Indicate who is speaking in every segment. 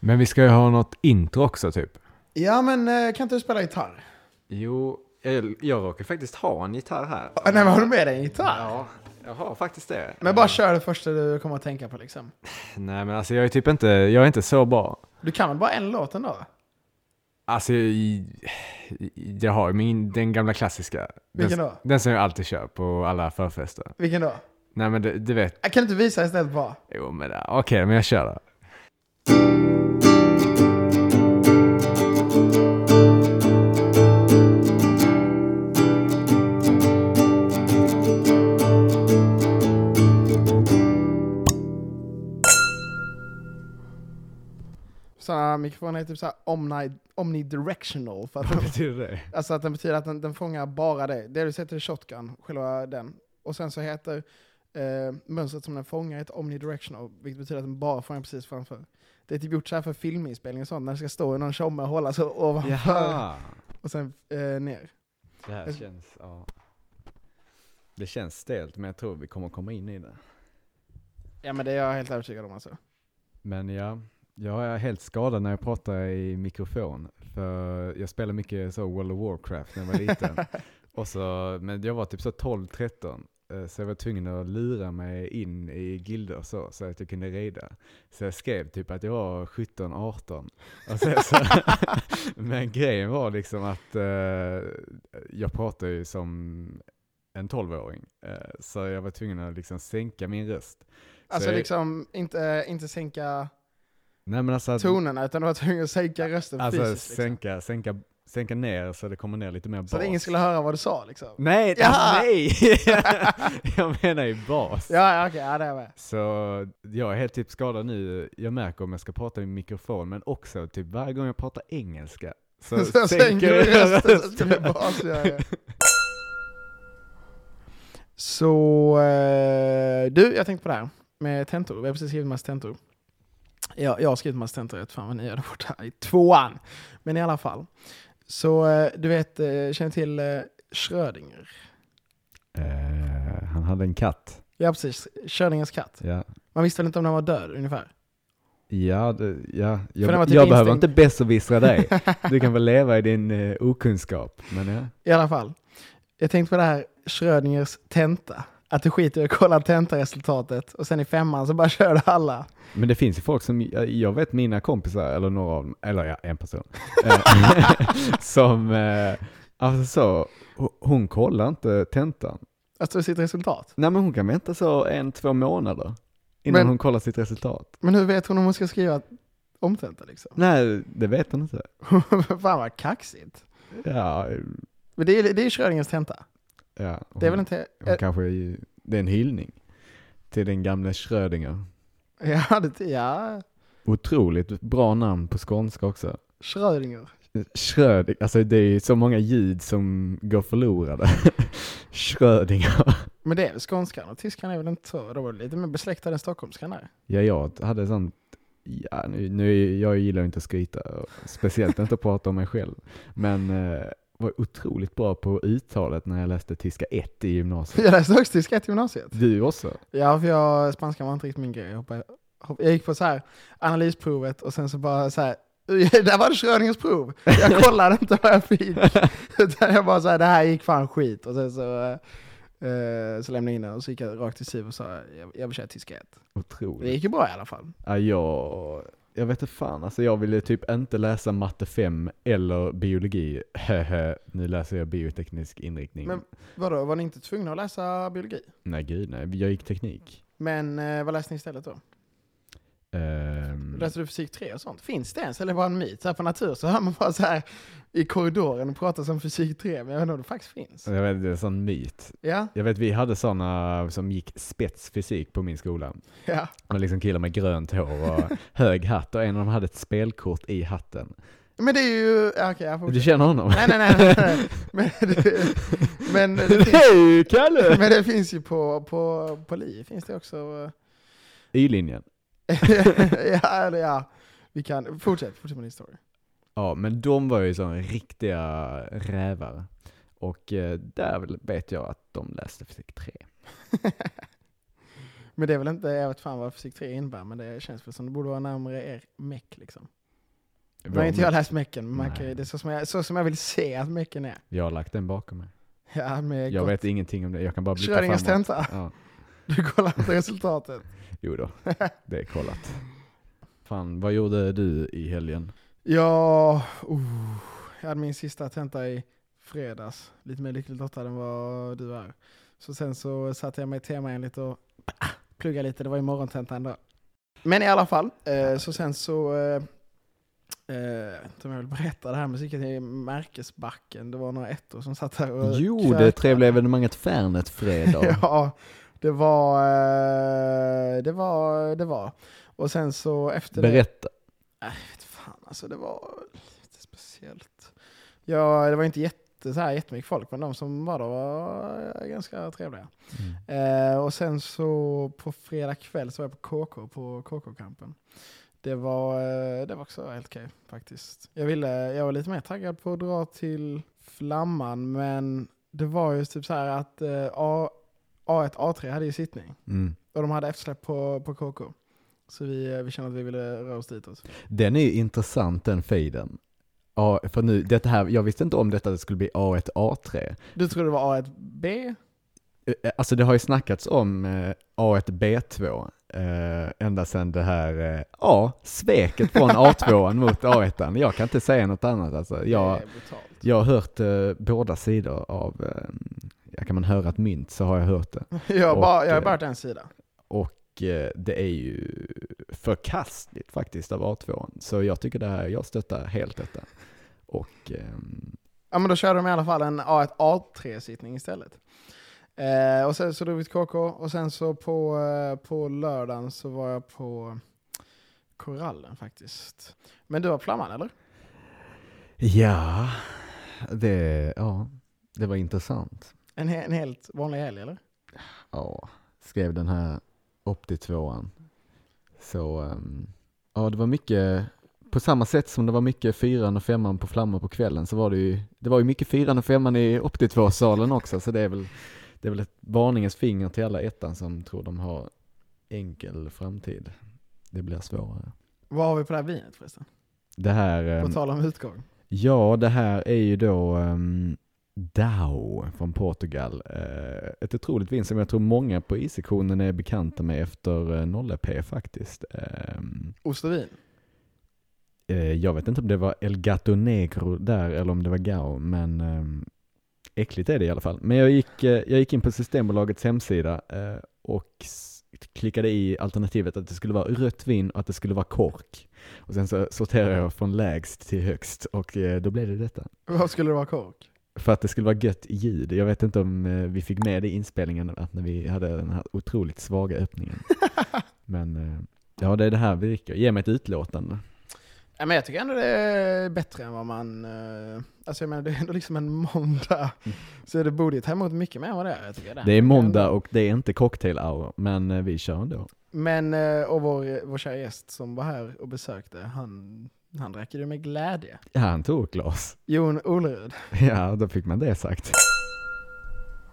Speaker 1: Men vi ska ju ha något intro också typ.
Speaker 2: Ja, men eh, kan inte du spela gitarr?
Speaker 3: Jo,
Speaker 1: eh,
Speaker 3: jag, jag råkar faktiskt ha en gitarr här.
Speaker 2: Ah, Nej, men har du med dig en gitarr?
Speaker 3: Ja, jag har faktiskt det.
Speaker 2: Men bara kör det första du kommer att tänka på liksom.
Speaker 1: Nej men alltså jag är typ inte, jag är inte så bra.
Speaker 2: Du kan väl bara en låt ändå?
Speaker 1: Alltså i- i- jag har ju min, den gamla klassiska.
Speaker 2: Vilken
Speaker 1: den,
Speaker 2: då?
Speaker 1: Den som jag alltid kör på alla förfester.
Speaker 2: Vilken då?
Speaker 1: Nej men du, du vet,
Speaker 2: Ah, Kan du inte visa istället bara?
Speaker 1: jo men det- okej men jag kör då.
Speaker 2: Sådana mikrofoner är typ såhär omni- omnidirectional. För att,
Speaker 1: betyder det?
Speaker 2: alltså att den betyder att den, den fångar bara dig. Det du sätter i shotgun, själva den. Och sen så heter eh, mönstret som den fångar ett omnidirectional, vilket betyder att den bara fångar precis framför. Det är typ gjort så här för filminspelning och sånt, när det ska stå i någon tjomme och hålla sig ovanför
Speaker 3: Jaha,
Speaker 2: och sen eh, ner.
Speaker 3: det här känns, ja. Det känns stelt, men jag tror vi kommer komma in i det.
Speaker 2: Ja men det är jag helt övertygad om alltså.
Speaker 3: Men ja, jag är helt skadad när jag pratar i mikrofon. För jag spelade mycket så World of Warcraft när jag var liten. Och så, men jag var typ så 12-13. eh, Så jag var tvungen att lura mig in i gilder så, så att jag kunde rida. Så jag skrev typ att jag var 17-18. Och sen så, men grejen var liksom att eh, jag pratar ju som en 12-åring. Eh, så jag var tvungen att liksom sänka min röst.
Speaker 2: Alltså
Speaker 3: Så-
Speaker 2: liksom inte, inte sänka
Speaker 3: Nej, men alltså att-
Speaker 2: tonerna, utan du var tvungen att sänka rösten
Speaker 3: Alltså
Speaker 2: fysiskt. Liksom.
Speaker 3: sänka, sänka, sänka ner så det kommer ner lite mer bas.
Speaker 2: Så att ingen skulle höra vad du sa liksom.
Speaker 3: Nej,
Speaker 2: Ja!
Speaker 3: alltså, nej! jag menar ju bas.
Speaker 2: Ja, ja okej, ja det är jag med.
Speaker 3: Så jag är helt typ skadad nu, jag märker om jag ska prata i mikrofon, men också typ varje gång jag pratar engelska så,
Speaker 2: Så jag sänker
Speaker 3: jag
Speaker 2: rösten så att det blir bas, ja, ja. Så, eh, du jag tänkte på det här med tentor. Vi har precis skrivit massa tentor. Ja, jag har skrivit massa tentor, jag vet fan vad ni hade gjort här i tvåan. Men i alla fall. Så eh, du vet, eh, känner till eh, Schrödinger?
Speaker 3: Eh, han hade en katt.
Speaker 2: Ja precis, Schrödingers katt.
Speaker 3: Ja,
Speaker 2: Man visste väl inte om den var död ungefär?
Speaker 3: ja, det, ja.
Speaker 2: den var
Speaker 3: jag,
Speaker 2: typ
Speaker 3: jag behöver
Speaker 2: instängd.
Speaker 3: inte besserwissra dig. Du kan väl leva i din eh, okunskap. Men ja.
Speaker 2: I alla fall. Jag tänkte på det här Schrödingers tenta. Att du skiter i att kolla tentaresultatet och sen i femman så bara kör du alla.
Speaker 3: Men det finns ju folk som, jag- jag vet mina kompisar, eller några av dem, eller ja, en person, eh, som, eh, alltså så, ho- hon kollar inte tentan.
Speaker 2: Alltså sitt resultat.
Speaker 3: Nej men hon kan vänta så en, två månader innan
Speaker 2: Men-
Speaker 3: hon kollar sitt resultat.
Speaker 2: Men hur vet hon om hon ska skriva om tenta liksom?
Speaker 3: Nej, det vet hon inte.
Speaker 2: Fan vad kaxigt.
Speaker 3: Ja, eh,
Speaker 2: Men det är ju det är ju Schrödingers tenta.
Speaker 3: ja. Hon,
Speaker 2: Det är väl inte... Eh.
Speaker 3: hon kanske är ju, det är en hyllning till den gamle Schrödinger.
Speaker 2: eh, Ja, det, ja.
Speaker 3: Otroligt bra namn på skånska också.
Speaker 2: Schrödinger.
Speaker 3: Schrödinger, alltså det är ju så många ljud som går förlorade. Schrödinger.
Speaker 2: Men det är väl skånskan och tyskan är väl inte så. De är lite mer besläktade än stockholmskan där.
Speaker 3: Ja, jag hade sånt, ja, nu, nu, jag gillar ju inte att skryta, och speciellt inte att prata om mig själv, men eh, var otroligt bra på uttalet när jag läste tyska 1 i gymnasiet.
Speaker 2: Jag läste också tyska i gymnasiet.
Speaker 3: Du också?
Speaker 2: Ja, för jag, spanskan var inte riktigt min grej. Jag, hoppade, hopp, jag gick på så här analysprovet och sen så bara så här, där var det Schrödingers prov. Jag kollade inte vad jag fick. Utan jag bara så här, det här gick fan skit. Och sen så, eh, så lämnade jag in den och så gick jag rakt till SIV och sa, jag, jag vill köra tyska 1. Det
Speaker 3: Otroligt.
Speaker 2: gick ju bra i alla fall.
Speaker 3: Ja, jag, jag vet inte fan, alltså jag ville typ inte läsa matte 5 eller biologi, Hehe, nu läser jag bioteknisk inriktning.
Speaker 2: Men- Vadå, var ni inte tvungna att läsa biologi?
Speaker 3: Nej gud nej, jag gick teknik.
Speaker 2: Men eh, vad läste ni istället då?
Speaker 3: Ehm,
Speaker 2: Läste du fysik 3 och sånt? Finns det ens? Eller var det en myt? Så här på natur så hör man bara så här i korridoren och pratar som fysik 3, men jag vet inte om det faktiskt finns.
Speaker 3: jag vet, det är en sån myt.
Speaker 2: Ja,
Speaker 3: Jag vet vi hade såna som gick spetsfysik på min skola.
Speaker 2: ja.
Speaker 3: Och liksom killar med grönt hår och hög hatt och en av dem hade ett spelkort i hatten.
Speaker 2: Men det är ju... ja, Okej, jag får...
Speaker 3: Du känner honom?
Speaker 2: Nej, nej, nej. nej, nej. Men, det, men, det finns,
Speaker 3: Hej Kalle!
Speaker 2: men det finns ju på, på, på LI, finns det också...
Speaker 3: Y-linjen.
Speaker 2: eh, ja, eller ja. Vi kan... Fortsätt, fortsätt med din story.
Speaker 3: Ja, men de var ju såna riktiga rävar. Och eh, där väl vet jag att de läste fysik 3.
Speaker 2: Men det är väl inte, jag vet fan vad fysik 3 innebär, men det känns väl som det borde vara närmare er meck liksom. Nu har
Speaker 3: Vår
Speaker 2: inte jag läst mecken, men man
Speaker 3: Nej.
Speaker 2: kan, ju- det är så som, jag, så som jag vill se att mecken är.
Speaker 3: Jag har lagt den bakom mig.
Speaker 2: Ja, med
Speaker 3: Jag
Speaker 2: gott.
Speaker 3: vet ingenting om det, jag kan bara blicka
Speaker 2: Schrödingers
Speaker 3: framåt.
Speaker 2: tenta.
Speaker 3: Ja.
Speaker 2: Du kollar inte resultatet.
Speaker 3: Jo då, det är kollat. Fan, vad gjorde du i helgen?
Speaker 2: Ja, oh, jag hade min sista tenta i fredags. Lite mer lyckligt lottad än vad du är. Så sen så satte jag mig temaenligt och ah, pluggade lite. Det var ju morgontentan då. Men i alla fall, eh, så sen så... Eh, eh, jag vet inte om jag vill berätta det här, men så gick jag till Märkesbacken. Det var några ettor som satt här och
Speaker 3: Jo,
Speaker 2: krökade.
Speaker 3: det trevliga evenemanget Färnet fredag.
Speaker 2: Ja, det var... eh, Det var... Det var. Och sen så efter det...
Speaker 3: Berätta.
Speaker 2: vet fan alltså, det var lite speciellt. Ja, det var inte jätte, så här, jättemycket folk, men de som var där var ganska trevliga. Eh, och sen så på fredag kväll så var jag på KK, på KK-kampen. Det var, eh, det var också helt okej faktiskt. Jag, ville, jag var lite mer taggad på att dra till Flamman, men det var ju typ så här att eh, A, A1, A3 hade ju sittning.
Speaker 3: Mm.
Speaker 2: Och de hade eftersläpp på, på KK. Så vi, eh, vi kände att vi ville röra oss ditåt.
Speaker 3: Den är ju intressant den feeden. Ja, för nu, detta här, jag visste inte om detta att det skulle bli A1, A3.
Speaker 2: Du trodde det var A1B?
Speaker 3: Eh, Alltså det har ju snackats om eh, A1, B2 eh, ända sedan det här, eh, ja, sveket från A2 mot A1. Jag kan inte säga något annat alltså. Jag,
Speaker 2: Det är brutalt.
Speaker 3: Jag har hört eh, båda sidor av, eh, ja, kan man höra ett mynt så har jag hört det.
Speaker 2: Jag har
Speaker 3: Och,
Speaker 2: bara, jag har
Speaker 3: eh,
Speaker 2: bara hört en sida.
Speaker 3: Och eh, det är ju förkastligt faktiskt av A2. Så jag tycker det här, jag stöttar helt detta. Och ehm,
Speaker 2: Ja men då körde de i alla fall en A1 A3-sittning istället. Eh, och sen så drog vi till KK och sen så på, eh, på lördagen så var jag på Korallen faktiskt. Men du var på Flamman eller?
Speaker 3: ja, det, ja, det var intressant.
Speaker 2: En, he- en helt vanlig helg eller?
Speaker 3: Ja, skrev den här opti-tvåan. Så, ehm, ja det var mycket, på samma sätt som det var mycket fyran och femman på flammor på kvällen så var det ju, det var ju mycket fyran och femman i opti-två-salen också så det är väl, det är väl ett varningens finger till alla ettan som tror de har enkel framtid. Det blir svårare.
Speaker 2: Vad har vi på det här vinet förresten?
Speaker 3: Det här, ehm,
Speaker 2: På tal om utgång.
Speaker 3: ja det här är ju då um, DAO från Portugal. Eh, ett otroligt vin som jag tror många på isektionen är bekanta med efter eh, 0P faktiskt. Ehm,
Speaker 2: Ost och vin.
Speaker 3: Eh, jag vet inte om det var El Gato Negro där eller om det var Gao, men ehm, äckligt är det i alla fall. Men jag gick, eh, jag gick in på Systembolagets hemsida eh, och s- klickade i alternativet att det skulle vara rött vin och att det skulle vara kork. Och sen så sorterade jag från lägst till högst och eh, då blev det detta.
Speaker 2: Vad skulle det vara kork?
Speaker 3: För att det skulle vara gött ljud. Jag vet inte om eh, vi fick med det i inspelningen att när vi hade den här otroligt svaga öppningen. Men eh, ja, det är det här vi dricker. Ge mig ett utlåtande.
Speaker 2: Ja, men jag tycker ändå det är bättre än vad man... Eh, alltså jag menar det är ändå liksom en måndag. Så det borde ju ta emot mycket mer än vad det är. Jag tycker
Speaker 3: Mm. Det är måndag och det är inte cocktail-hour, men eh, vi kör ändå.
Speaker 2: Men, eh, och vår, vår kära gäst som var här och besökte, han, han drack det med glädje.
Speaker 3: Ja, han tog ett glas.
Speaker 2: Jon Olerud.
Speaker 3: Ja, då fick man det sagt.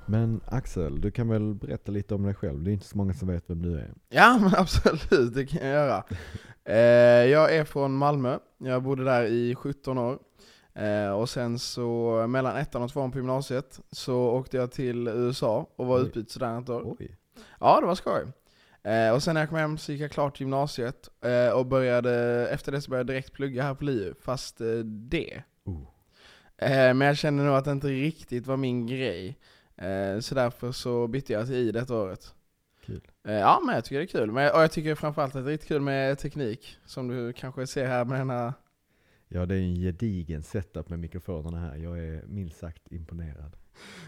Speaker 3: Men Axel, du kan väl berätta lite om dig själv? Det är inte så många som vet vem du är.
Speaker 2: Ja, men absolut, det kan jag göra. Eh, jag är från Malmö, jag bodde där i 17 år. Eh, och sen så, mellan ettan och tvåan på gymnasiet, så åkte jag till USA och var
Speaker 3: Oj.
Speaker 2: utbytesstudent där ett år.
Speaker 3: Oj.
Speaker 2: Ja, det var skoj. Eh, och sen när jag kom hem så gick jag klart gymnasiet eh, och började, efter det så började jag direkt plugga här på LiU, fast eh, det.
Speaker 3: Oh.
Speaker 2: Eh, men jag kände nog att det inte riktigt var min grej. Eh, så därför så bytte jag till I detta året.
Speaker 3: Kul.
Speaker 2: Eh, ja, men jag tycker det är kul. Men, och jag tycker framförallt att det är riktigt kul med teknik, som du kanske ser här med den här.
Speaker 4: Ja, det är en gedigen setup med mikrofonerna här. Jag är minst sagt imponerad.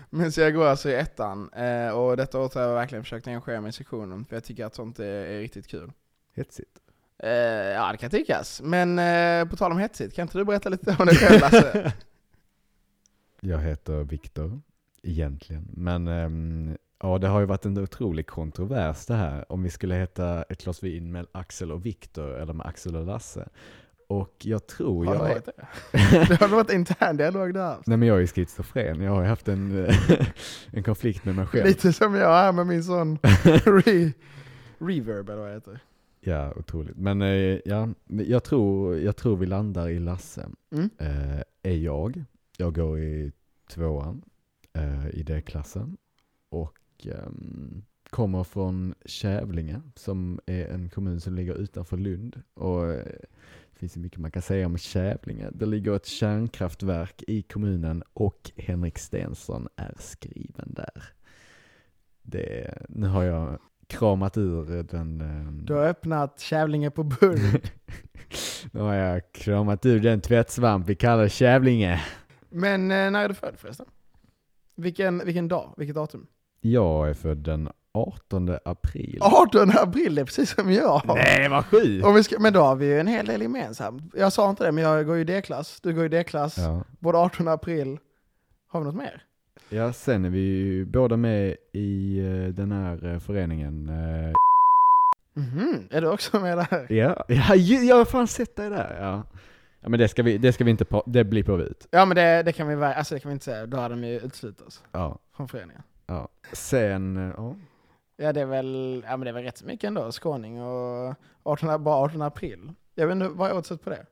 Speaker 2: Men så jag går alltså i ettan, eh, och detta året har jag verkligen försökt engagera mig i sektionen, för jag tycker att sånt är, är riktigt kul.
Speaker 4: Hetsigt.
Speaker 2: Eh, ja, det kan tyckas. Men eh, på tal om hetsigt, kan inte du berätta lite om dig själv Lasse?
Speaker 3: Jag heter Viktor, egentligen. Men ehm, ja, det har ju varit en otrolig kontrovers det här. Om vi skulle heta ett glas vin med Axel och Viktor eller med Axel och Lasse. Och jag tror
Speaker 2: Har det
Speaker 3: jag...
Speaker 2: varit det? Det har varit intern dialog där.
Speaker 3: Nej men jag är ju schizofren, jag har ju haft en, en konflikt med mig själv.
Speaker 2: Lite som jag är med min sån re, Reverb eller vad det heter.
Speaker 3: Ja, otroligt. Men eh, ja, jag tror, jag tror vi landar i Lasse.
Speaker 2: Mm.
Speaker 3: Eh, är jag. Jag går i tvåan eh, i D-klassen. Och ehm, kommer från Kävlinge som är en kommun som ligger utanför Lund. Och eh, det finns ju mycket man kan säga om Kävlinge. Det ligger ett kärnkraftverk i kommunen och Henrik Stenson är skriven där. Det, nu har jag kramat ur den... ehm,
Speaker 2: Du har öppnat Kävlinge på burk.
Speaker 3: nu har jag kramat ur den tvättsvamp vi kallar Kävlinge.
Speaker 2: Men eh, när är du född förresten? Vilken, vilken dag? Vilket datum?
Speaker 3: Jag är född den 18 april.
Speaker 2: 18 april, det är precis som jag.
Speaker 3: Nej, vad sjukt!
Speaker 2: Och vi ska, men då har vi ju en hel del gemensamt. Jag sa inte det, men jag går ju D-klass. Du går ju D-klass.
Speaker 3: Ja.
Speaker 2: Både 18 april. Har vi något mer?
Speaker 3: ja, sen är vi ju båda med i eh, den här eh, föreningen. eh,
Speaker 2: Mhm, Är du också med där?
Speaker 3: Ja, ja ju- jag har fan sett dig där. Ja. ja, men det ska vi, det ska vi inte pra- det blir på ut.
Speaker 2: Ja men det, det, kan vi, väl- alltså, det kan vi inte säga, då hade de ju uteslutit oss
Speaker 3: Ja,
Speaker 2: från föreningen.
Speaker 3: ja. Sen, eh, ja.
Speaker 2: Ja det är väl, ja men det är väl rätt så mycket ändå, skåning och 18, bara 18 april. Jag vet inte, vad är oddset på det?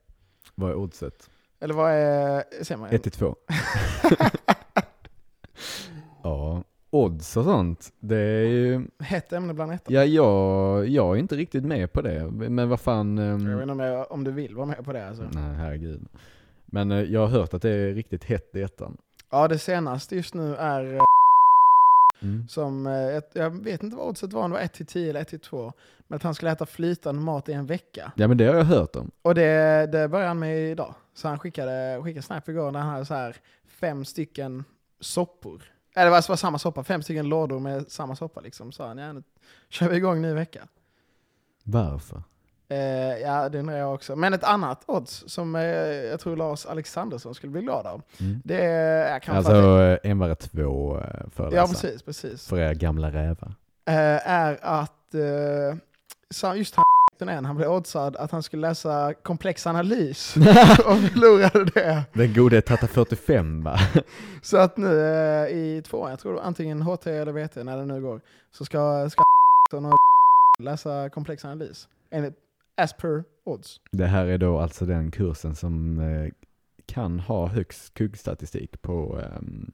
Speaker 3: Vad är oddset?
Speaker 2: Eller vad är, ser man?
Speaker 3: 1 till 2. ja, odds och sånt. Det är ju,
Speaker 2: Hett ämne bland ettor.
Speaker 3: ja jag, jag är inte riktigt med på det. Men vad fan. ehm,
Speaker 2: Jag vet inte om, jag, om du vill vara med på det alltså.
Speaker 3: Nej, herregud. Men eh, jag har hört att det är riktigt hett i ettan.
Speaker 2: Ja det senaste just nu är eh, som, eh, ett, jag vet inte vad oddset var, om det var 1 till 10 eller 1 till 2. Men att han skulle äta flytande mat i en vecka.
Speaker 3: Ja men det har jag hört om.
Speaker 2: Och det, det började han med idag. Så han skickade, skickade snap igår när han hade så här fem stycken soppor. Eller det var, det var samma soppa, fem stycken lådor med samma soppa liksom. Så han, ja nu kör vi igång ny vecka.
Speaker 3: Varför?
Speaker 2: Eh, ja, det undrar jag också. Men ett annat odds som eh, jag tror Lars Alexandersson skulle bli glad av.
Speaker 3: Mm.
Speaker 2: Det är... Jag kan
Speaker 3: Alltså
Speaker 2: fatta-
Speaker 3: eh, en var två eh,
Speaker 2: ja,
Speaker 3: föreläsare.
Speaker 2: precis, precis.
Speaker 3: för era gamla rävar.
Speaker 2: eh, är att eh, sa- just han den en, han blev oddsad att han skulle läsa komplex analys och förlorade det.
Speaker 3: Den gode Tata 45 va?
Speaker 2: Så att nu eh, i tvåan, jag tror det var antingen HT eller VT när det nu går, så ska, ska och läsa komplex analys. Enligt as per odds.
Speaker 3: Det här är då alltså den kursen som eh, kan ha högst kuggstatistik på ehm,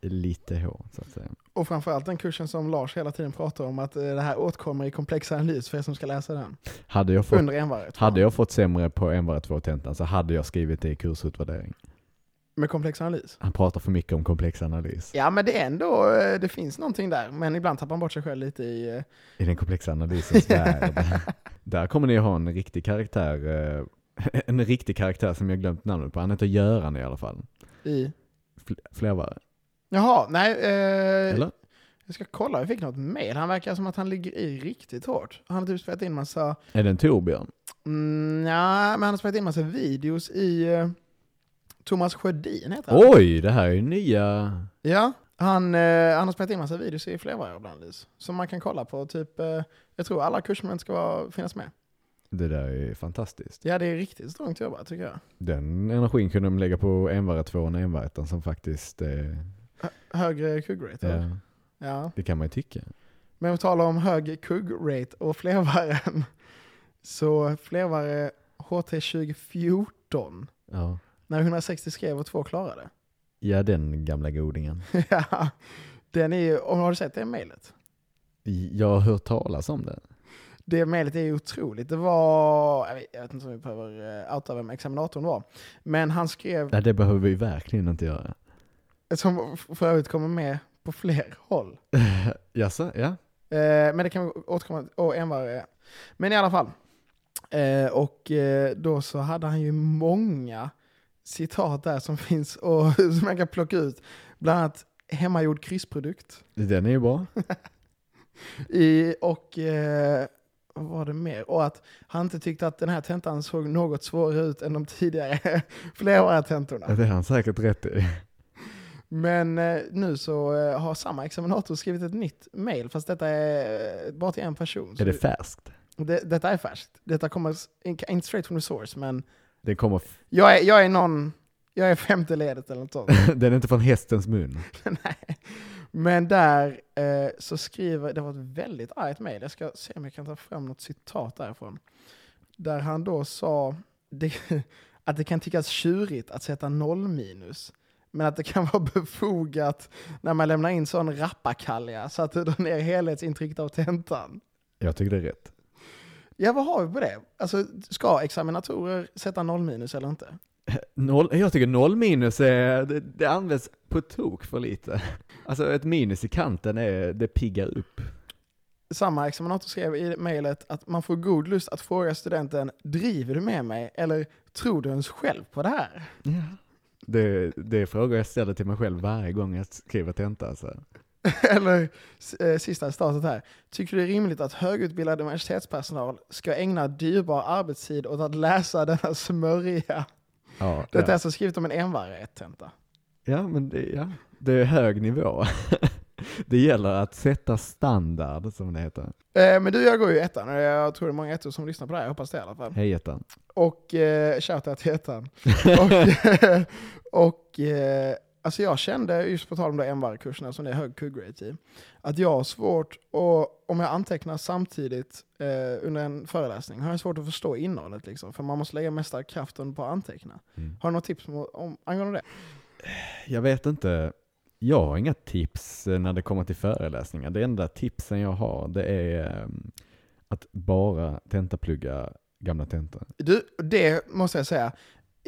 Speaker 3: lite H så att säga.
Speaker 2: Och framförallt den kursen som Lars hela tiden pratar om, att eh, det här åtkommer i komplex analys för er som ska läsa den.
Speaker 3: Hade jag fått,
Speaker 2: Under envaret.
Speaker 3: hade jag fått sämre på en var två tentan så hade jag skrivit det i kursutvärdering.
Speaker 2: Med komplex analys.
Speaker 3: Han pratar för mycket om komplex analys.
Speaker 2: Ja men det är ändå, eh, det finns någonting där. Men ibland tappar man bort sig själv lite i eh,
Speaker 3: I den komplexa analysens värld. Där kommer ni ha en riktig karaktär, eh, en riktig karaktär som jag glömt namnet på. Han heter Göran i alla fall.
Speaker 2: I?
Speaker 3: Fl- Flervare.
Speaker 2: Jaha, nej. Eh,
Speaker 3: Eller?
Speaker 2: jag ska kolla, jag fick något mail. Han verkar som att han ligger i riktigt hårt. Han har typ spelat in massa,
Speaker 3: Är det en Torbjörn?
Speaker 2: mm, ja, men han har spelat in massa videos i eh, Thomas Sjödin heter han.
Speaker 3: Oj, det här är ju nya...
Speaker 2: Ja, han, eh, han har spelat in massa videos i flera år bland annat. Som man kan kolla på, typ, eh, jag tror alla kursmoment ska vara, finnas med.
Speaker 3: Det där är ju fantastiskt.
Speaker 2: Ja, det är riktigt strångt jobbat tycker jag.
Speaker 3: Den energin kunde de lägga på envare tvåan och envare ettan som faktiskt... Eh,
Speaker 2: Hö- högre kuggrate. Ja.
Speaker 3: ja,
Speaker 2: ja.
Speaker 3: det kan man ju tycka.
Speaker 2: Men vi talar om hög kugg-rate och flervaren. Så flervare HT 2014.
Speaker 3: Ja.
Speaker 2: När 160 skrev och två klarade.
Speaker 3: ja, den gamla godingen.
Speaker 2: Ja, Den är ju, och har du sett det mejlet?
Speaker 3: Jag har hört talas om det.
Speaker 2: Det mejlet är ju otroligt. Det var, jag vet- jag vet inte om vi behöver eh, outa vem examinatorn var. Men han skrev,
Speaker 3: Nej, det behöver vi verkligen inte göra.
Speaker 2: som f- för övrigt kommer med på fler håll.
Speaker 3: Jaså? Ja?
Speaker 2: Eh, men det kan vi återkomma och en varje. Men i alla fall. Eh, och eh, då så hade han ju många citat där som finns och som man kan plocka ut. Bland annat hemmagjord kryssprodukt.
Speaker 3: Den är ju bra.
Speaker 2: I, och eh, vad var det mer? Och att han inte tyckte att den här tentan såg något svårare ut än de tidigare flera tentorna.
Speaker 3: Det är han säkert rätt i.
Speaker 2: Men eh, nu så eh, har samma examinator skrivit ett nytt mail, fast detta är eh, bara till en person. Så
Speaker 3: Är det färskt?
Speaker 2: det, detta är färskt. Detta kommer s- in- inte straight from the source, men
Speaker 3: Den, kommer f-
Speaker 2: jag är, jag är någon... Jag är femte ledet eller något sånt.
Speaker 3: den är inte från hästens mun.
Speaker 2: Nej. Men där eh, så skriver, det var ett väldigt argt mejl, jag ska se om jag kan ta fram något citat därifrån. Där han då sa det, att det kan tyckas tjurigt att sätta noll minus, men att det kan vara befogat när man lämnar in sån rappakalja så att det drar ner helhetsintrycket av tentan.
Speaker 4: Jag tycker det är rätt.
Speaker 2: Ja, vad har vi på det? Alltså, ska examinatorer sätta noll minus eller inte?
Speaker 3: Noll, jag tycker noll minus är, det, det används på tok för lite. Alltså ett minus i kanten är, det piggar upp.
Speaker 2: samma examinator skrev i mejlet att man får god lust att fråga studenten driver du med mig eller tror du ens själv på det här?
Speaker 3: Det, det är frågor jag ställer till mig själv varje gång jag skriver tenta. alltså. Så. här.
Speaker 2: eller eh, sista citatet här. Tycker du det är rimligt att högutbildad universitetspersonal ska ägna dyrbar arbetstid åt att läsa denna smörja?
Speaker 3: Ja,
Speaker 2: Detta är
Speaker 3: ja.
Speaker 2: alltså skrivet om en envarighetstenta.
Speaker 3: ja, men det, ja, det är hög nivå. Det gäller att sätta standard, som det heter.
Speaker 2: Eh, men du, jag går ju i ettan och jag tror det är många ettor som lyssnar på det här, jag hoppas det i alla fall.
Speaker 3: Hej ettan.
Speaker 2: Och eh, shoutout till ettan. och och eh, alltså jag kände, just på tal om de MVAR-kurserna som det är hög Q-grade i, att jag har svårt, och om jag antecknar samtidigt eh, under en föreläsning, har jag svårt att förstå innehållet. Liksom, för man måste lägga mesta kraften på att anteckna.
Speaker 3: Mm.
Speaker 2: Har du något tips om, om, angående det?
Speaker 3: Jag vet inte. Jag har inga tips eh, när det kommer till föreläsningar. Det enda tipsen jag har det är eh, att bara tentaplugga gamla tentor.
Speaker 2: Du, det måste jag säga.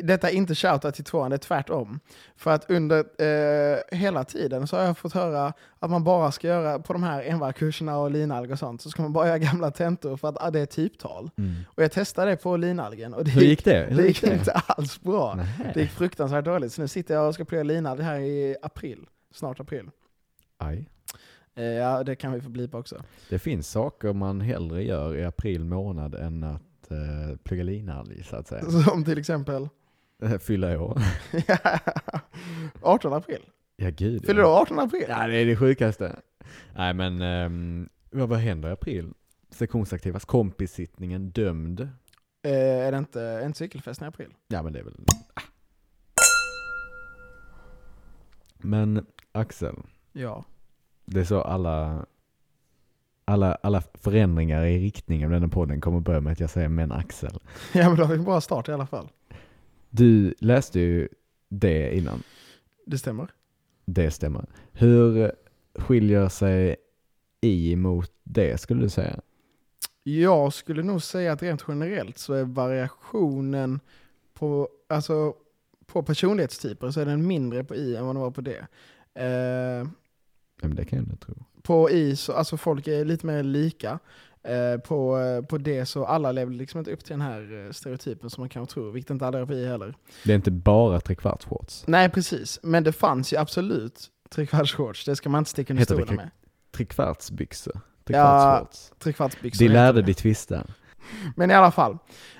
Speaker 2: Detta är inte shoutout till tvåan, det är tvärtom. För att under eh, hela tiden så har jag fått höra att man bara ska göra på de här envarkurserna och linalg och sånt, så ska man bara göra gamla tentor för att ah, det är typtal. Och jag testade det på linalgen och det
Speaker 3: Hur gick det?
Speaker 2: det gick inte alls bra.
Speaker 3: Nej.
Speaker 2: Det gick fruktansvärt dåligt. Så nu sitter jag och ska plugga linalg här i april, snart april.
Speaker 3: Aj.
Speaker 2: Eh, ja, det kan vi få blipa också.
Speaker 3: Det finns saker man hellre gör i april månad än att eh, plugga linalg så att säga.
Speaker 2: Som till exempel
Speaker 3: Eh, Fylla år.
Speaker 2: 18 april.
Speaker 3: Ja gud.
Speaker 2: Fyller du
Speaker 3: ja.
Speaker 2: år 18 april?
Speaker 3: Ja det är det sjukaste. Nej men, ehm, vad, vad händer i april? Sektionsaktivas kompissittningen dömd.
Speaker 2: Eh, är det inte en cykelfest i april?
Speaker 3: Ja men det är väl... Ah. Men Axel,
Speaker 2: Ja.
Speaker 3: det är så alla, alla, alla förändringar i riktning av denna podden kommer börja med att jag säger men Axel.
Speaker 2: Ja men då har vi en bra start i alla fall.
Speaker 3: Du läste ju det innan.
Speaker 2: Det stämmer.
Speaker 3: Det stämmer. Hur skiljer sig i mot det skulle du säga?
Speaker 2: Jag skulle nog säga att rent generellt så är variationen på, alltså, på personlighetstyper så är den mindre på i än vad den var på det. Eh,
Speaker 3: Ja, men det kan jag inte tro.
Speaker 2: på i så, alltså folk är lite mer lika. Eh, på, på det så alla lever liksom inte upp till den här eh, stereotypen som man kanske tror, vilket inte alla gör på i heller.
Speaker 3: Det är inte bara trekvartsshorts.
Speaker 2: Nej precis, men det fanns ju absolut trekvartsshorts, det ska man inte sticka under
Speaker 3: Heter det
Speaker 2: stolen med.
Speaker 3: Trekvartsbyxor. Trekvartsshorts.
Speaker 2: Trekvartsbyxor.
Speaker 3: De
Speaker 2: heter
Speaker 3: lärde
Speaker 2: det.
Speaker 3: dig twista.
Speaker 2: Men i alla fall.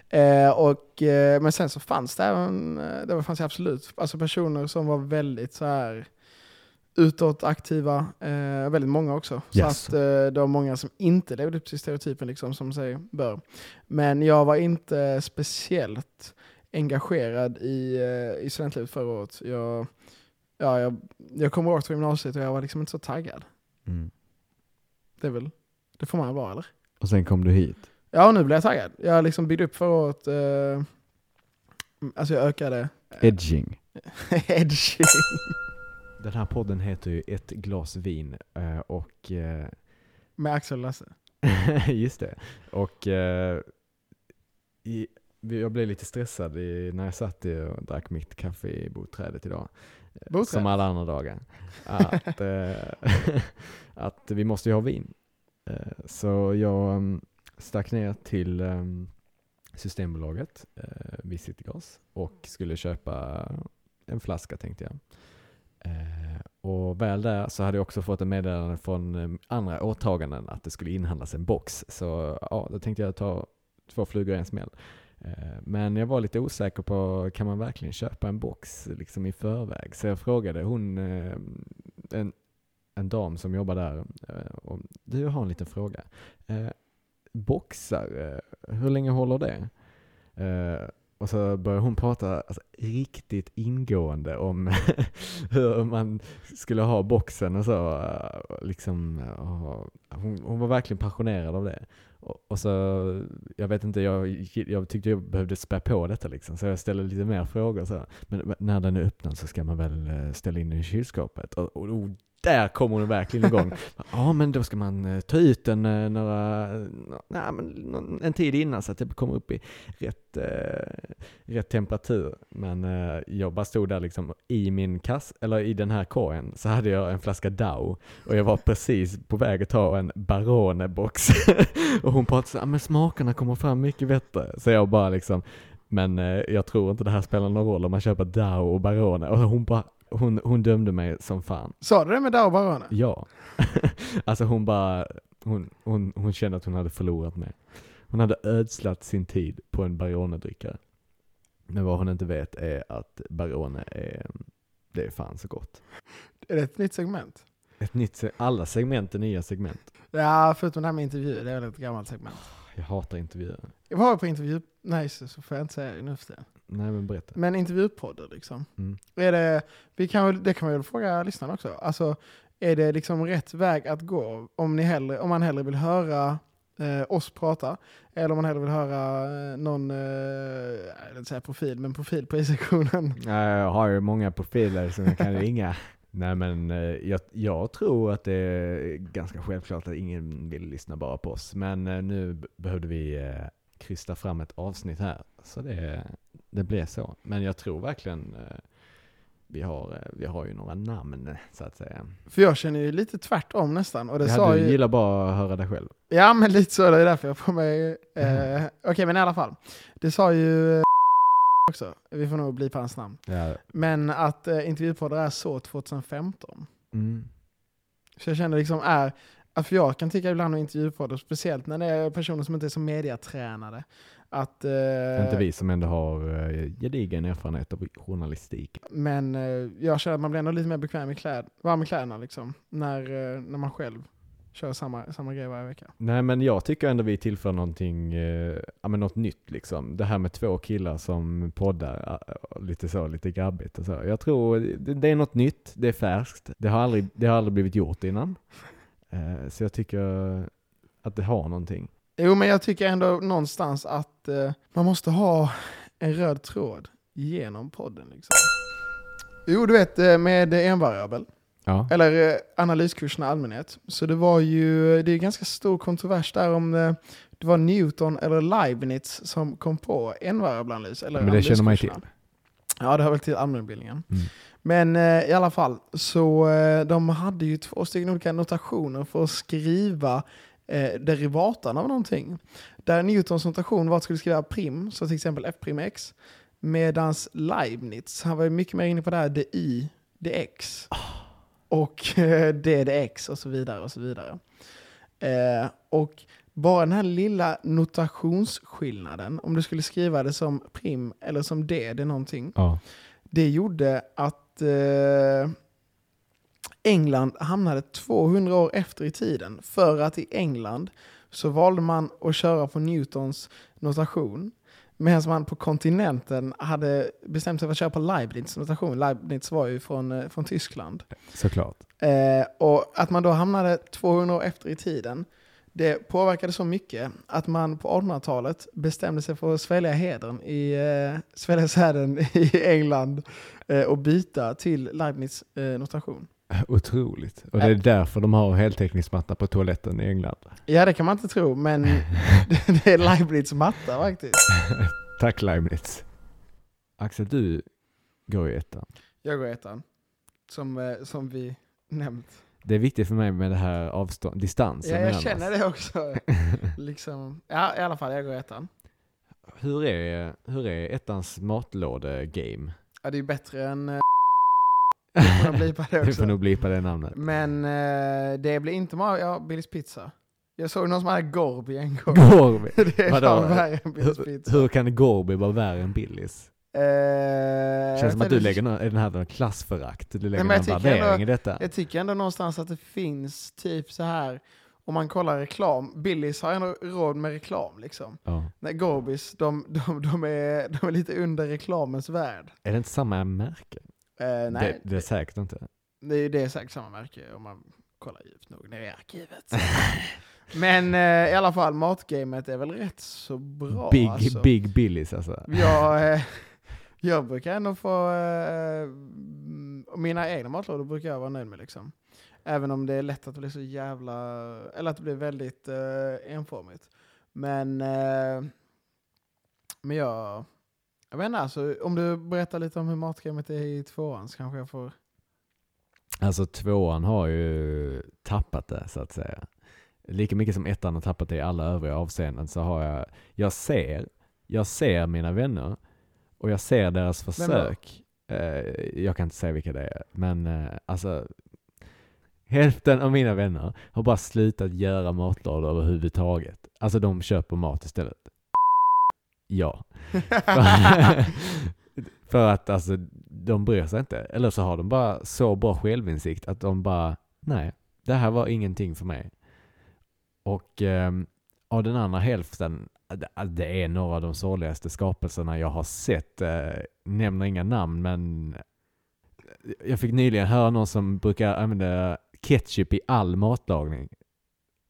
Speaker 2: Eh, och, eh, men sen så fanns det även, eh, det fanns ju absolut, alltså personer som var väldigt så här utåtaktiva, eh, väldigt många också.
Speaker 3: Yes.
Speaker 2: Så att eh, det var många som inte levde upp till stereotypen liksom, som sig bör. Men jag var inte speciellt engagerad i, eh, i studentlivet förra året. Jag, ja, jag, jag kommer ihåg från gymnasiet och jag var liksom inte så taggad.
Speaker 3: Mm.
Speaker 2: Det är väl, det får man vara eller?
Speaker 3: Och sen kom du hit.
Speaker 2: Ja, och nu blir jag taggad. Jag liksom byggde upp förra året, eh, alltså jag ökade
Speaker 3: Edging.
Speaker 2: edge.
Speaker 3: Den här podden heter ju Ett glas vin eh, och eh,
Speaker 2: Med Axel och Lasse.
Speaker 3: Just det. Och eh, i, jag blev lite stressad i, när jag satt i och drack mitt kaffe i boträdet idag. Eh,
Speaker 2: Boträdet?
Speaker 3: Som alla andra dagar. Att, eh, att vi måste ju ha vin. Eh, så jag mm, stack ner till ehm, Systembolaget eh, vid Citygas och skulle köpa en flaska tänkte jag. Eh, och väl där så hade jag också fått en meddelande från eh, andra åtaganden att det skulle inhandlas en box. Så ja, då tänkte jag ta två flugor i en smäll. Eh, Men jag var lite osäker på, kan man verkligen köpa en box liksom i förväg? Så jag frågade hon, eh, en, en dam som jobbar där, eh, om, du jag har en liten fråga. Eh, Boxar, eh, hur länge håller det? Eh, Och så började hon prata alltså, riktigt ingående om hur man skulle ha boxen och så. eh, Liksom, och hon, hon var verkligen passionerad av det. Och, och så, jag vet inte, jag, jag tyckte jag behövde spä på detta liksom, så jag ställde lite mer frågor. Så. här. Men men när den är öppnad så ska man väl eh, ställa in den i kylskåpet? Och, och, och där kommer hon verkligen igång. Ja, men då ska man eh, ta ut den eh, några, nej, men någon- en tid innan så att det kommer upp i rätt, eh, rätt temperatur. Men eh, jag bara stod där liksom i min kass, eller i den här korgen, så hade jag en flaska DAO och jag var precis på väg att ta en Barone-box. och hon pratade så här, men smakerna kommer fram mycket bättre. Så jag bara liksom, men eh, jag tror inte det här spelar någon roll om man köper DAO och Barone. Och hon bara, hon, hon dömde mig som fan.
Speaker 2: Sa du det med Dao Barone?
Speaker 3: Ja. alltså hon bara, hon, hon, hon kände att hon hade förlorat mig. Hon hade ödslat sin tid på en Baronedryckare. Men vad hon inte vet är att Barone är, det är fan så gott.
Speaker 2: Är det ett nytt segment?
Speaker 3: Ett nytt, se- alla segment är nya segment.
Speaker 2: Ja, förutom det här med intervjuer, det är väl ett gammalt segment.
Speaker 3: Jag hatar intervjuer.
Speaker 2: Jag var på intervju... Nej, just det, så får jag inte säga det nu för tiden.
Speaker 3: Nej men berätta.
Speaker 2: Men intervjupoddar liksom.
Speaker 3: Mm.
Speaker 2: Är det, vi kan, väl- det kan man väl fråga lyssnarna också. Alltså, är det liksom rätt väg att gå om, ni hellre, om man hellre vill höra eh, oss prata eller om man hellre vill höra eh, någon, eh, jag vill inte säga profil, men profil på i-sektionen.
Speaker 3: Nej, Jag har ju många profiler som jag kan ringa. Nej men eh, jag, jag tror att det är ganska självklart att ingen vill lyssna bara på oss. Men eh, nu b- behövde vi eh, krysta fram ett avsnitt här. Så det, det blev så. Men jag tror verkligen eh, vi har, eh, vi har ju några namn så att säga.
Speaker 2: För jag känner ju lite tvärtom nästan. Och det
Speaker 3: Ja,
Speaker 2: sa
Speaker 3: du
Speaker 2: ju,
Speaker 3: gillar bara att höra dig själv.
Speaker 2: Ja, men lite så. Det är därför jag får mig... Eh,
Speaker 3: Mm.
Speaker 2: Okej, men i alla fall. Det sa ju eh, också. Vi får nog bli på hans namn.
Speaker 3: Ja.
Speaker 2: Men att eh, intervjupoddar är så 2015.
Speaker 3: Mm.
Speaker 2: Så jag känner liksom är... att För jag kan tycka ibland om intervjupoddar, speciellt när det är personer som inte är så mediatränade. Att, eh,
Speaker 3: Inte vi som ändå har eh, gedigen erfarenhet av journalistik.
Speaker 2: Men eh, jag känner att man blir ändå lite mer bekväm i kläd, varm i kläderna liksom. När, eh, när man själv kör samma, samma grej varje vecka.
Speaker 3: Nej men jag tycker ändå vi tillför någonting, eh, ja, men något nytt liksom. Det här med två killar som poddar, eh, lite så, lite grabbigt och så. Jag tror det, det är något nytt, det är färskt, det har aldrig, det har aldrig blivit gjort innan. Eh, så jag tycker att det har någonting.
Speaker 2: Jo, men jag tycker ändå någonstans att eh, man måste ha en röd tråd genom podden. Liksom. Jo, du vet eh, med envariabel,
Speaker 3: Ja.
Speaker 2: eller eh, analyskurserna i allmänhet. Så det var ju, det är ganska stor kontrovers där om eh, det var Newton eller Leibniz som kom på envariabelanalys. Eller
Speaker 3: Men det känner man ju till.
Speaker 2: analyskurserna. Ja, det hör väl till allmänbildningen.
Speaker 3: Mm.
Speaker 2: Men eh, i alla fall, så eh, de hade ju två stycken olika notationer för att skriva eh, derivatan av någonting. Där Newtons notation var att skulle skriva prim, så till exempel f prim x, medans Leibniz, han var ju mycket mer inne på det här di, dx, och eh, ddx och så vidare och så vidare. Eh, och bara den här lilla notationsskillnaden, om du skulle skriva det som prim eller som d, det är någonting,
Speaker 3: Ja.
Speaker 2: det gjorde att eh, England hamnade 200 år efter i tiden. För att i England så valde man att köra på Newtons notation. Medan man på kontinenten hade bestämt sig för att köra på Leibniz notation. Leibniz var ju från, eh, från Tyskland.
Speaker 3: Såklart.
Speaker 2: Eh, och att man då hamnade 200 år efter i tiden, det påverkade så mycket att man på 1800-talet bestämde sig för att svälja hedern i, eh, svälja säden i England eh, och byta till Leibniz eh, notation.
Speaker 3: Otroligt. Och det är därför de har heltäckningsmatta på toaletten i England.
Speaker 2: Ja, det kan man inte tro, men det- det är Leibniz matta faktiskt.
Speaker 3: Tack Leibniz. Axel, du går i ettan.
Speaker 2: Jag går ettan, som, eh, som vi nämnt.
Speaker 3: Det är viktigt för mig med det här avstånd, distansen
Speaker 2: Ja,
Speaker 3: mellan
Speaker 2: jag
Speaker 3: oss.
Speaker 2: känner det också. Liksom, ja, i alla fall, jag går ettan.
Speaker 3: Hur är, hur är ettans matlåde-game?
Speaker 2: Ja, det är ju bättre än... eh, får nog blipa det
Speaker 3: Du
Speaker 2: också.
Speaker 3: får nog blipa det namnet.
Speaker 2: Men eh, det blir inte Mario, ja, Billys pizza. Jag såg någon som hade Gorby en gång.
Speaker 3: Gorby!
Speaker 2: det är
Speaker 3: Vadå?
Speaker 2: fan värre än Billys pizza.
Speaker 3: Hur kan Gorby vara värre än Billys?
Speaker 2: Eh,
Speaker 3: Känns som att du
Speaker 2: jag-
Speaker 3: lägger någon, är den här någon klassförakt, du lägger
Speaker 2: men jag
Speaker 3: någon
Speaker 2: tycker ändå-
Speaker 3: värdering i detta.
Speaker 2: Jag tycker ändå någonstans att det finns typ så här om man kollar reklam, Billys har ändå råd med reklam liksom.
Speaker 3: Ja.
Speaker 2: Nej, Gorbis, de, de, de, är, de är lite under reklamens värld.
Speaker 3: Är det inte samma märke?
Speaker 2: Eh, nej,
Speaker 3: Det, det är säkert inte.
Speaker 2: det, är ju- det är säkert samma märke om man kollar djupt nog ner i arkivet. Men eh, i alla fall, matgamet är väl rätt så bra.
Speaker 3: Big,
Speaker 2: alltså.
Speaker 3: big Billys alltså.
Speaker 2: Jag, eh, jag brukar ändå få... Eh, mm, mina egna matlådor brukar jag vara nöjd med. Liksom. Även om det är lätt att det blir så jävla... Eller att det blir väldigt eh, enformigt. Men... Eh, men jag... Jag vet inte, alltså, om du berättar lite om hur matgamet är i tvåan så kanske jag får...
Speaker 3: Alltså tvåan har ju tappat det så att säga. Lika mycket som ettan har tappat det i alla övriga avseenden så har jag, jag ser, jag ser mina vänner och jag ser deras försök. Eh, jag kan inte säga vilka det är, men eh, alltså hälften av mina vänner har bara slutat göra matlådor överhuvudtaget. Alltså de köper mat istället. Ja. För att alltså, de bryr sig inte. Eller så har de bara så bra självinsikt att de bara, nej, det här var ingenting för mig. Och ehm, av den andra hälften, det- det är några av de sorgligaste skapelserna jag har sett. Eh, nämner inga namn, men eh, jag fick nyligen höra någon som brukar använda ketchup i all matlagning.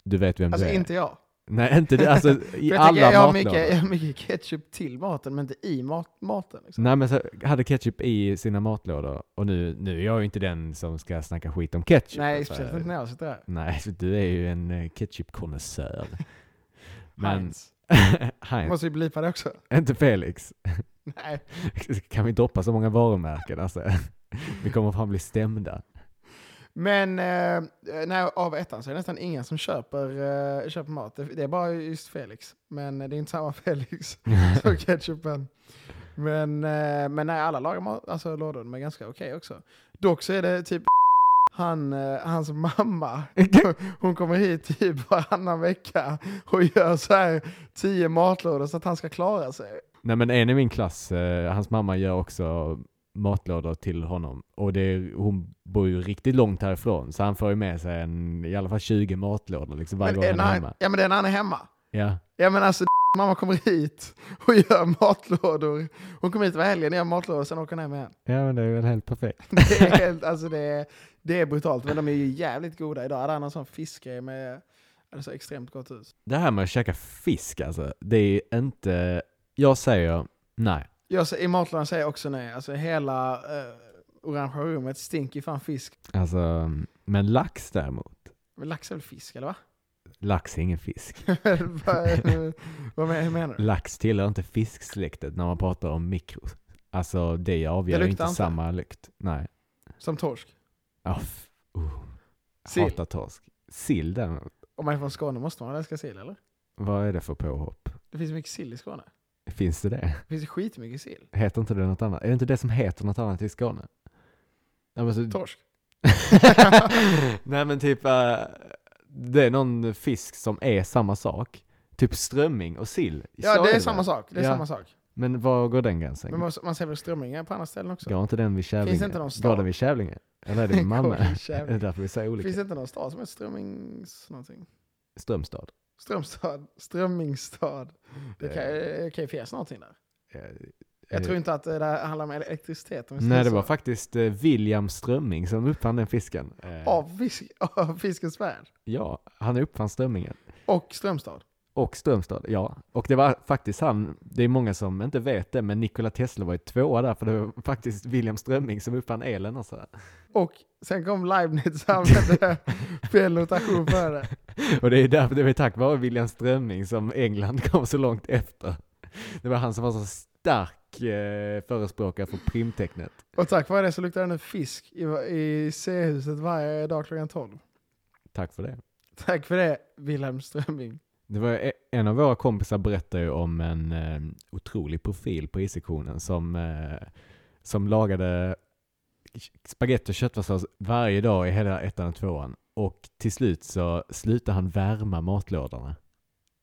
Speaker 3: Du vet vem
Speaker 2: alltså
Speaker 3: det är?
Speaker 2: inte jag.
Speaker 3: Nej, inte det. Alltså i
Speaker 2: jag,
Speaker 3: alla
Speaker 2: tycker jag, har mycket,
Speaker 3: matlådor.
Speaker 2: jag har mycket ketchup till maten men inte i mat, maten. Liksom.
Speaker 3: Nej men så hade ketchup i sina matlådor och nu, nu är jag ju inte den som ska snacka skit om ketchup.
Speaker 2: Nej,
Speaker 3: Alltså,
Speaker 2: speciellt inte när jag sitter här.
Speaker 3: Nej, så du är ju en eh, ketchupkonnässör. Men,
Speaker 2: Heinz.
Speaker 3: Heinz.
Speaker 2: Måste ju blipa det också.
Speaker 3: Inte Felix.
Speaker 2: Nej.
Speaker 3: Kan vi droppa så många varumärken alltså? Vi kommer fan bli stämda.
Speaker 2: Men eh, nej, av ettan så är det nästan ingen som köper, eh, köper mat. Det, det är bara just Felix. Men det är inte samma Felix som ketchupen. Men, eh, men nej, alla lagar mat, alltså, lådor. De är ganska okej också. Dock så är det typ han, eh, hans mamma. Hon kommer hit typ varannan vecka och gör så här tio matlådor så att han ska klara sig.
Speaker 3: Nej men en i min klass, eh, hans mamma gör också matlådor till honom. Och det är, hon bor ju riktigt långt härifrån så han får ju med sig en, i alla fall 20 matlådor liksom varje
Speaker 2: Men,
Speaker 3: gång
Speaker 2: är
Speaker 3: han
Speaker 2: när
Speaker 3: är
Speaker 2: han,
Speaker 3: hemma.
Speaker 2: ja, men det är när han är hemma.
Speaker 3: Ja.
Speaker 2: Ja men alltså mamma kommer hit och gör matlådor. Hon kommer hit varje helgen och gör matlådor, sen åker hon hem igen.
Speaker 3: ja men det är väl helt perfekt.
Speaker 2: Det är, helt, alltså, det är, det är brutalt, men de är ju jävligt goda. Idag hade han en sån fiskgrej med det så extremt gott ut.
Speaker 3: Det här med att käka fisk alltså, det är inte... Jag säger nej.
Speaker 2: Jag, ser- I matlådan säger jag också nej. Alltså hela eh, orangea rummet stinker ju fan fisk.
Speaker 3: Alltså, men lax däremot.
Speaker 2: Men lax är väl fisk eller va?
Speaker 3: Lax är ingen fisk.
Speaker 2: Vad- Vad men- hur menar du?
Speaker 3: Lax tillhör inte fisksläktet när man pratar om mikro. Alltså det avgör
Speaker 2: Det
Speaker 3: ju
Speaker 2: luktar
Speaker 3: inte
Speaker 2: inte.
Speaker 3: samma lukt. Nej.
Speaker 2: Som torsk?
Speaker 3: Oh, f- oh.
Speaker 2: Sill?
Speaker 3: Hatar torsk. Sill däremot.
Speaker 2: Om man är från Skåne måste man älska sill eller?
Speaker 3: Vad är det för påhopp?
Speaker 2: Det finns mycket sill i Skåne.
Speaker 3: Finns det det?
Speaker 2: Det finns skitmycket sill.
Speaker 3: Heter inte det något annat? Är det inte det som heter något annat i Skåne? Ja, men så,
Speaker 2: Torsk?
Speaker 3: Nej men typ, eh, det är någon fisk som är samma sak. Typ strömming och sill.
Speaker 2: Ja
Speaker 3: Så
Speaker 2: det är
Speaker 3: väl?
Speaker 2: samma sak. Det är
Speaker 3: Ja.
Speaker 2: samma sak.
Speaker 3: Men var går den gränsen?
Speaker 2: Men man, man ser väl strömmingar på andra ställen också?
Speaker 3: Går inte den vid Kävlinge?
Speaker 2: Finns det inte någon stad?
Speaker 3: Går den vid Kävlinge? Eller är det vid Malmö?
Speaker 2: Går i
Speaker 3: det
Speaker 2: Kävlinge.
Speaker 3: är därför vi säger olika.
Speaker 2: Finns det inte någon stad som heter Strömmings någonting?
Speaker 3: Strömstad?
Speaker 2: Strömstad? Strömmingsstad? Det kan, det kan ju finnas någonting där.
Speaker 3: Eh, eh,
Speaker 2: Jag tror inte att det där handlar om elektricitet. Om vi säger
Speaker 3: Nej det
Speaker 2: så.
Speaker 3: var faktiskt eh, William Strömming som uppfann den fisken. Eh,
Speaker 2: Av, fisk, av Fiskens Värld.
Speaker 3: Ja, han uppfann strömmingen.
Speaker 2: Och Strömstad.
Speaker 3: Och Strömstad, ja. Och det var faktiskt han, det är många som inte vet det, men Nikola Tesla var ju tvåa där, för det var faktiskt William Strömming som uppfann elen och så.
Speaker 2: Och sen kom Leibniz och använde fel notation för det.
Speaker 3: Och det är därför, det var tack vare William Strömming som England kom så långt efter. Det var han som var så stark eh, förespråkare för primtecknet.
Speaker 2: Och tack vare det så luktar det nu fisk i, i C-huset varje dag klockan 12.
Speaker 3: Tack för det.
Speaker 2: Tack för det, Wilhelm Strömming.
Speaker 3: Det var e- en av våra kompisar berättade ju om en eh, otrolig profil på I-sektionen som, eh, som lagade spagetti och köttfärssås varje dag i hela ettan och tvåan. Och till slut så slutade han värma matlådorna.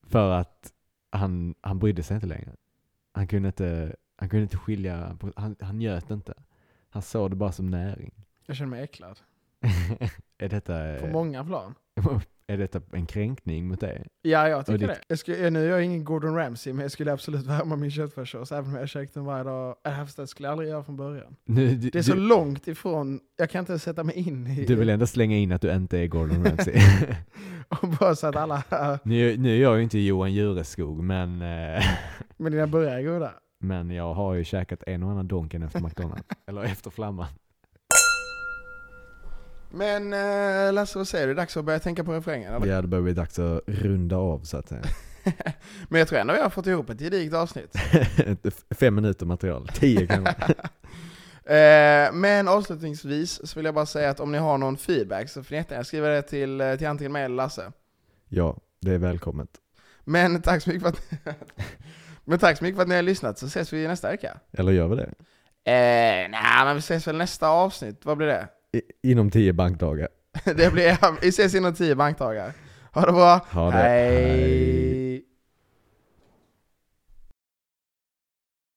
Speaker 3: För att han, han brydde sig inte längre. Han kunde inte, han kunde inte skilja, på, han, han njöt inte. Han såg det bara som näring.
Speaker 2: Jag känner mig äcklad.
Speaker 3: Är detta...
Speaker 2: På många plan.
Speaker 4: är detta en kränkning mot dig?
Speaker 2: Ja, jag tycker
Speaker 4: ditt-
Speaker 2: det. Jag skulle, nu är jag ingen Gordon Ramsay, men jag skulle absolut värma min köttfärssås även om jag käkat den varje dag. Äh, fast Det skulle jag aldrig göra från början.
Speaker 4: Nu, du,
Speaker 2: Det är så
Speaker 4: du,
Speaker 2: långt ifrån, jag kan inte sätta mig in i...
Speaker 4: du vill ändå slänga in att du inte är Gordon Ramsay.
Speaker 2: och bara så att alla...
Speaker 4: nu, nu är jag ju inte Johan Jureskog, men, eh,
Speaker 2: Men dina burgare är goda.
Speaker 4: men jag har ju käkat en och annan Donken efter McDonalds. Eller efter Flamman.
Speaker 2: Men eh, Lasse, vad säger du? Dags att börja tänka på refrängen? Eller?
Speaker 3: Ja, det börjar bli dags att runda av så att säga.
Speaker 2: Men jag tror ändå jag har fått ihop ett gediget avsnitt.
Speaker 4: Fem minuter material. Tio kanske.
Speaker 2: Eh, men avslutningsvis så vill jag bara säga att om ni har någon feedback så får ni jättegärna skriva det till, eh, till antingen mig eller Lasse.
Speaker 3: Ja, det är välkommet.
Speaker 2: Men tack så mycket för att, men tack så mycket för att ni har lyssnat så ses vi nästa vecka.
Speaker 3: Eller gör vi det?
Speaker 2: Eh, nej, men vi ses väl nästa avsnitt. Vad blir det?
Speaker 3: I, inom tio bankdagar.
Speaker 2: det blir, vi ses inom tio bankdagar. Ha det bra.
Speaker 3: Ha det.
Speaker 2: Hej.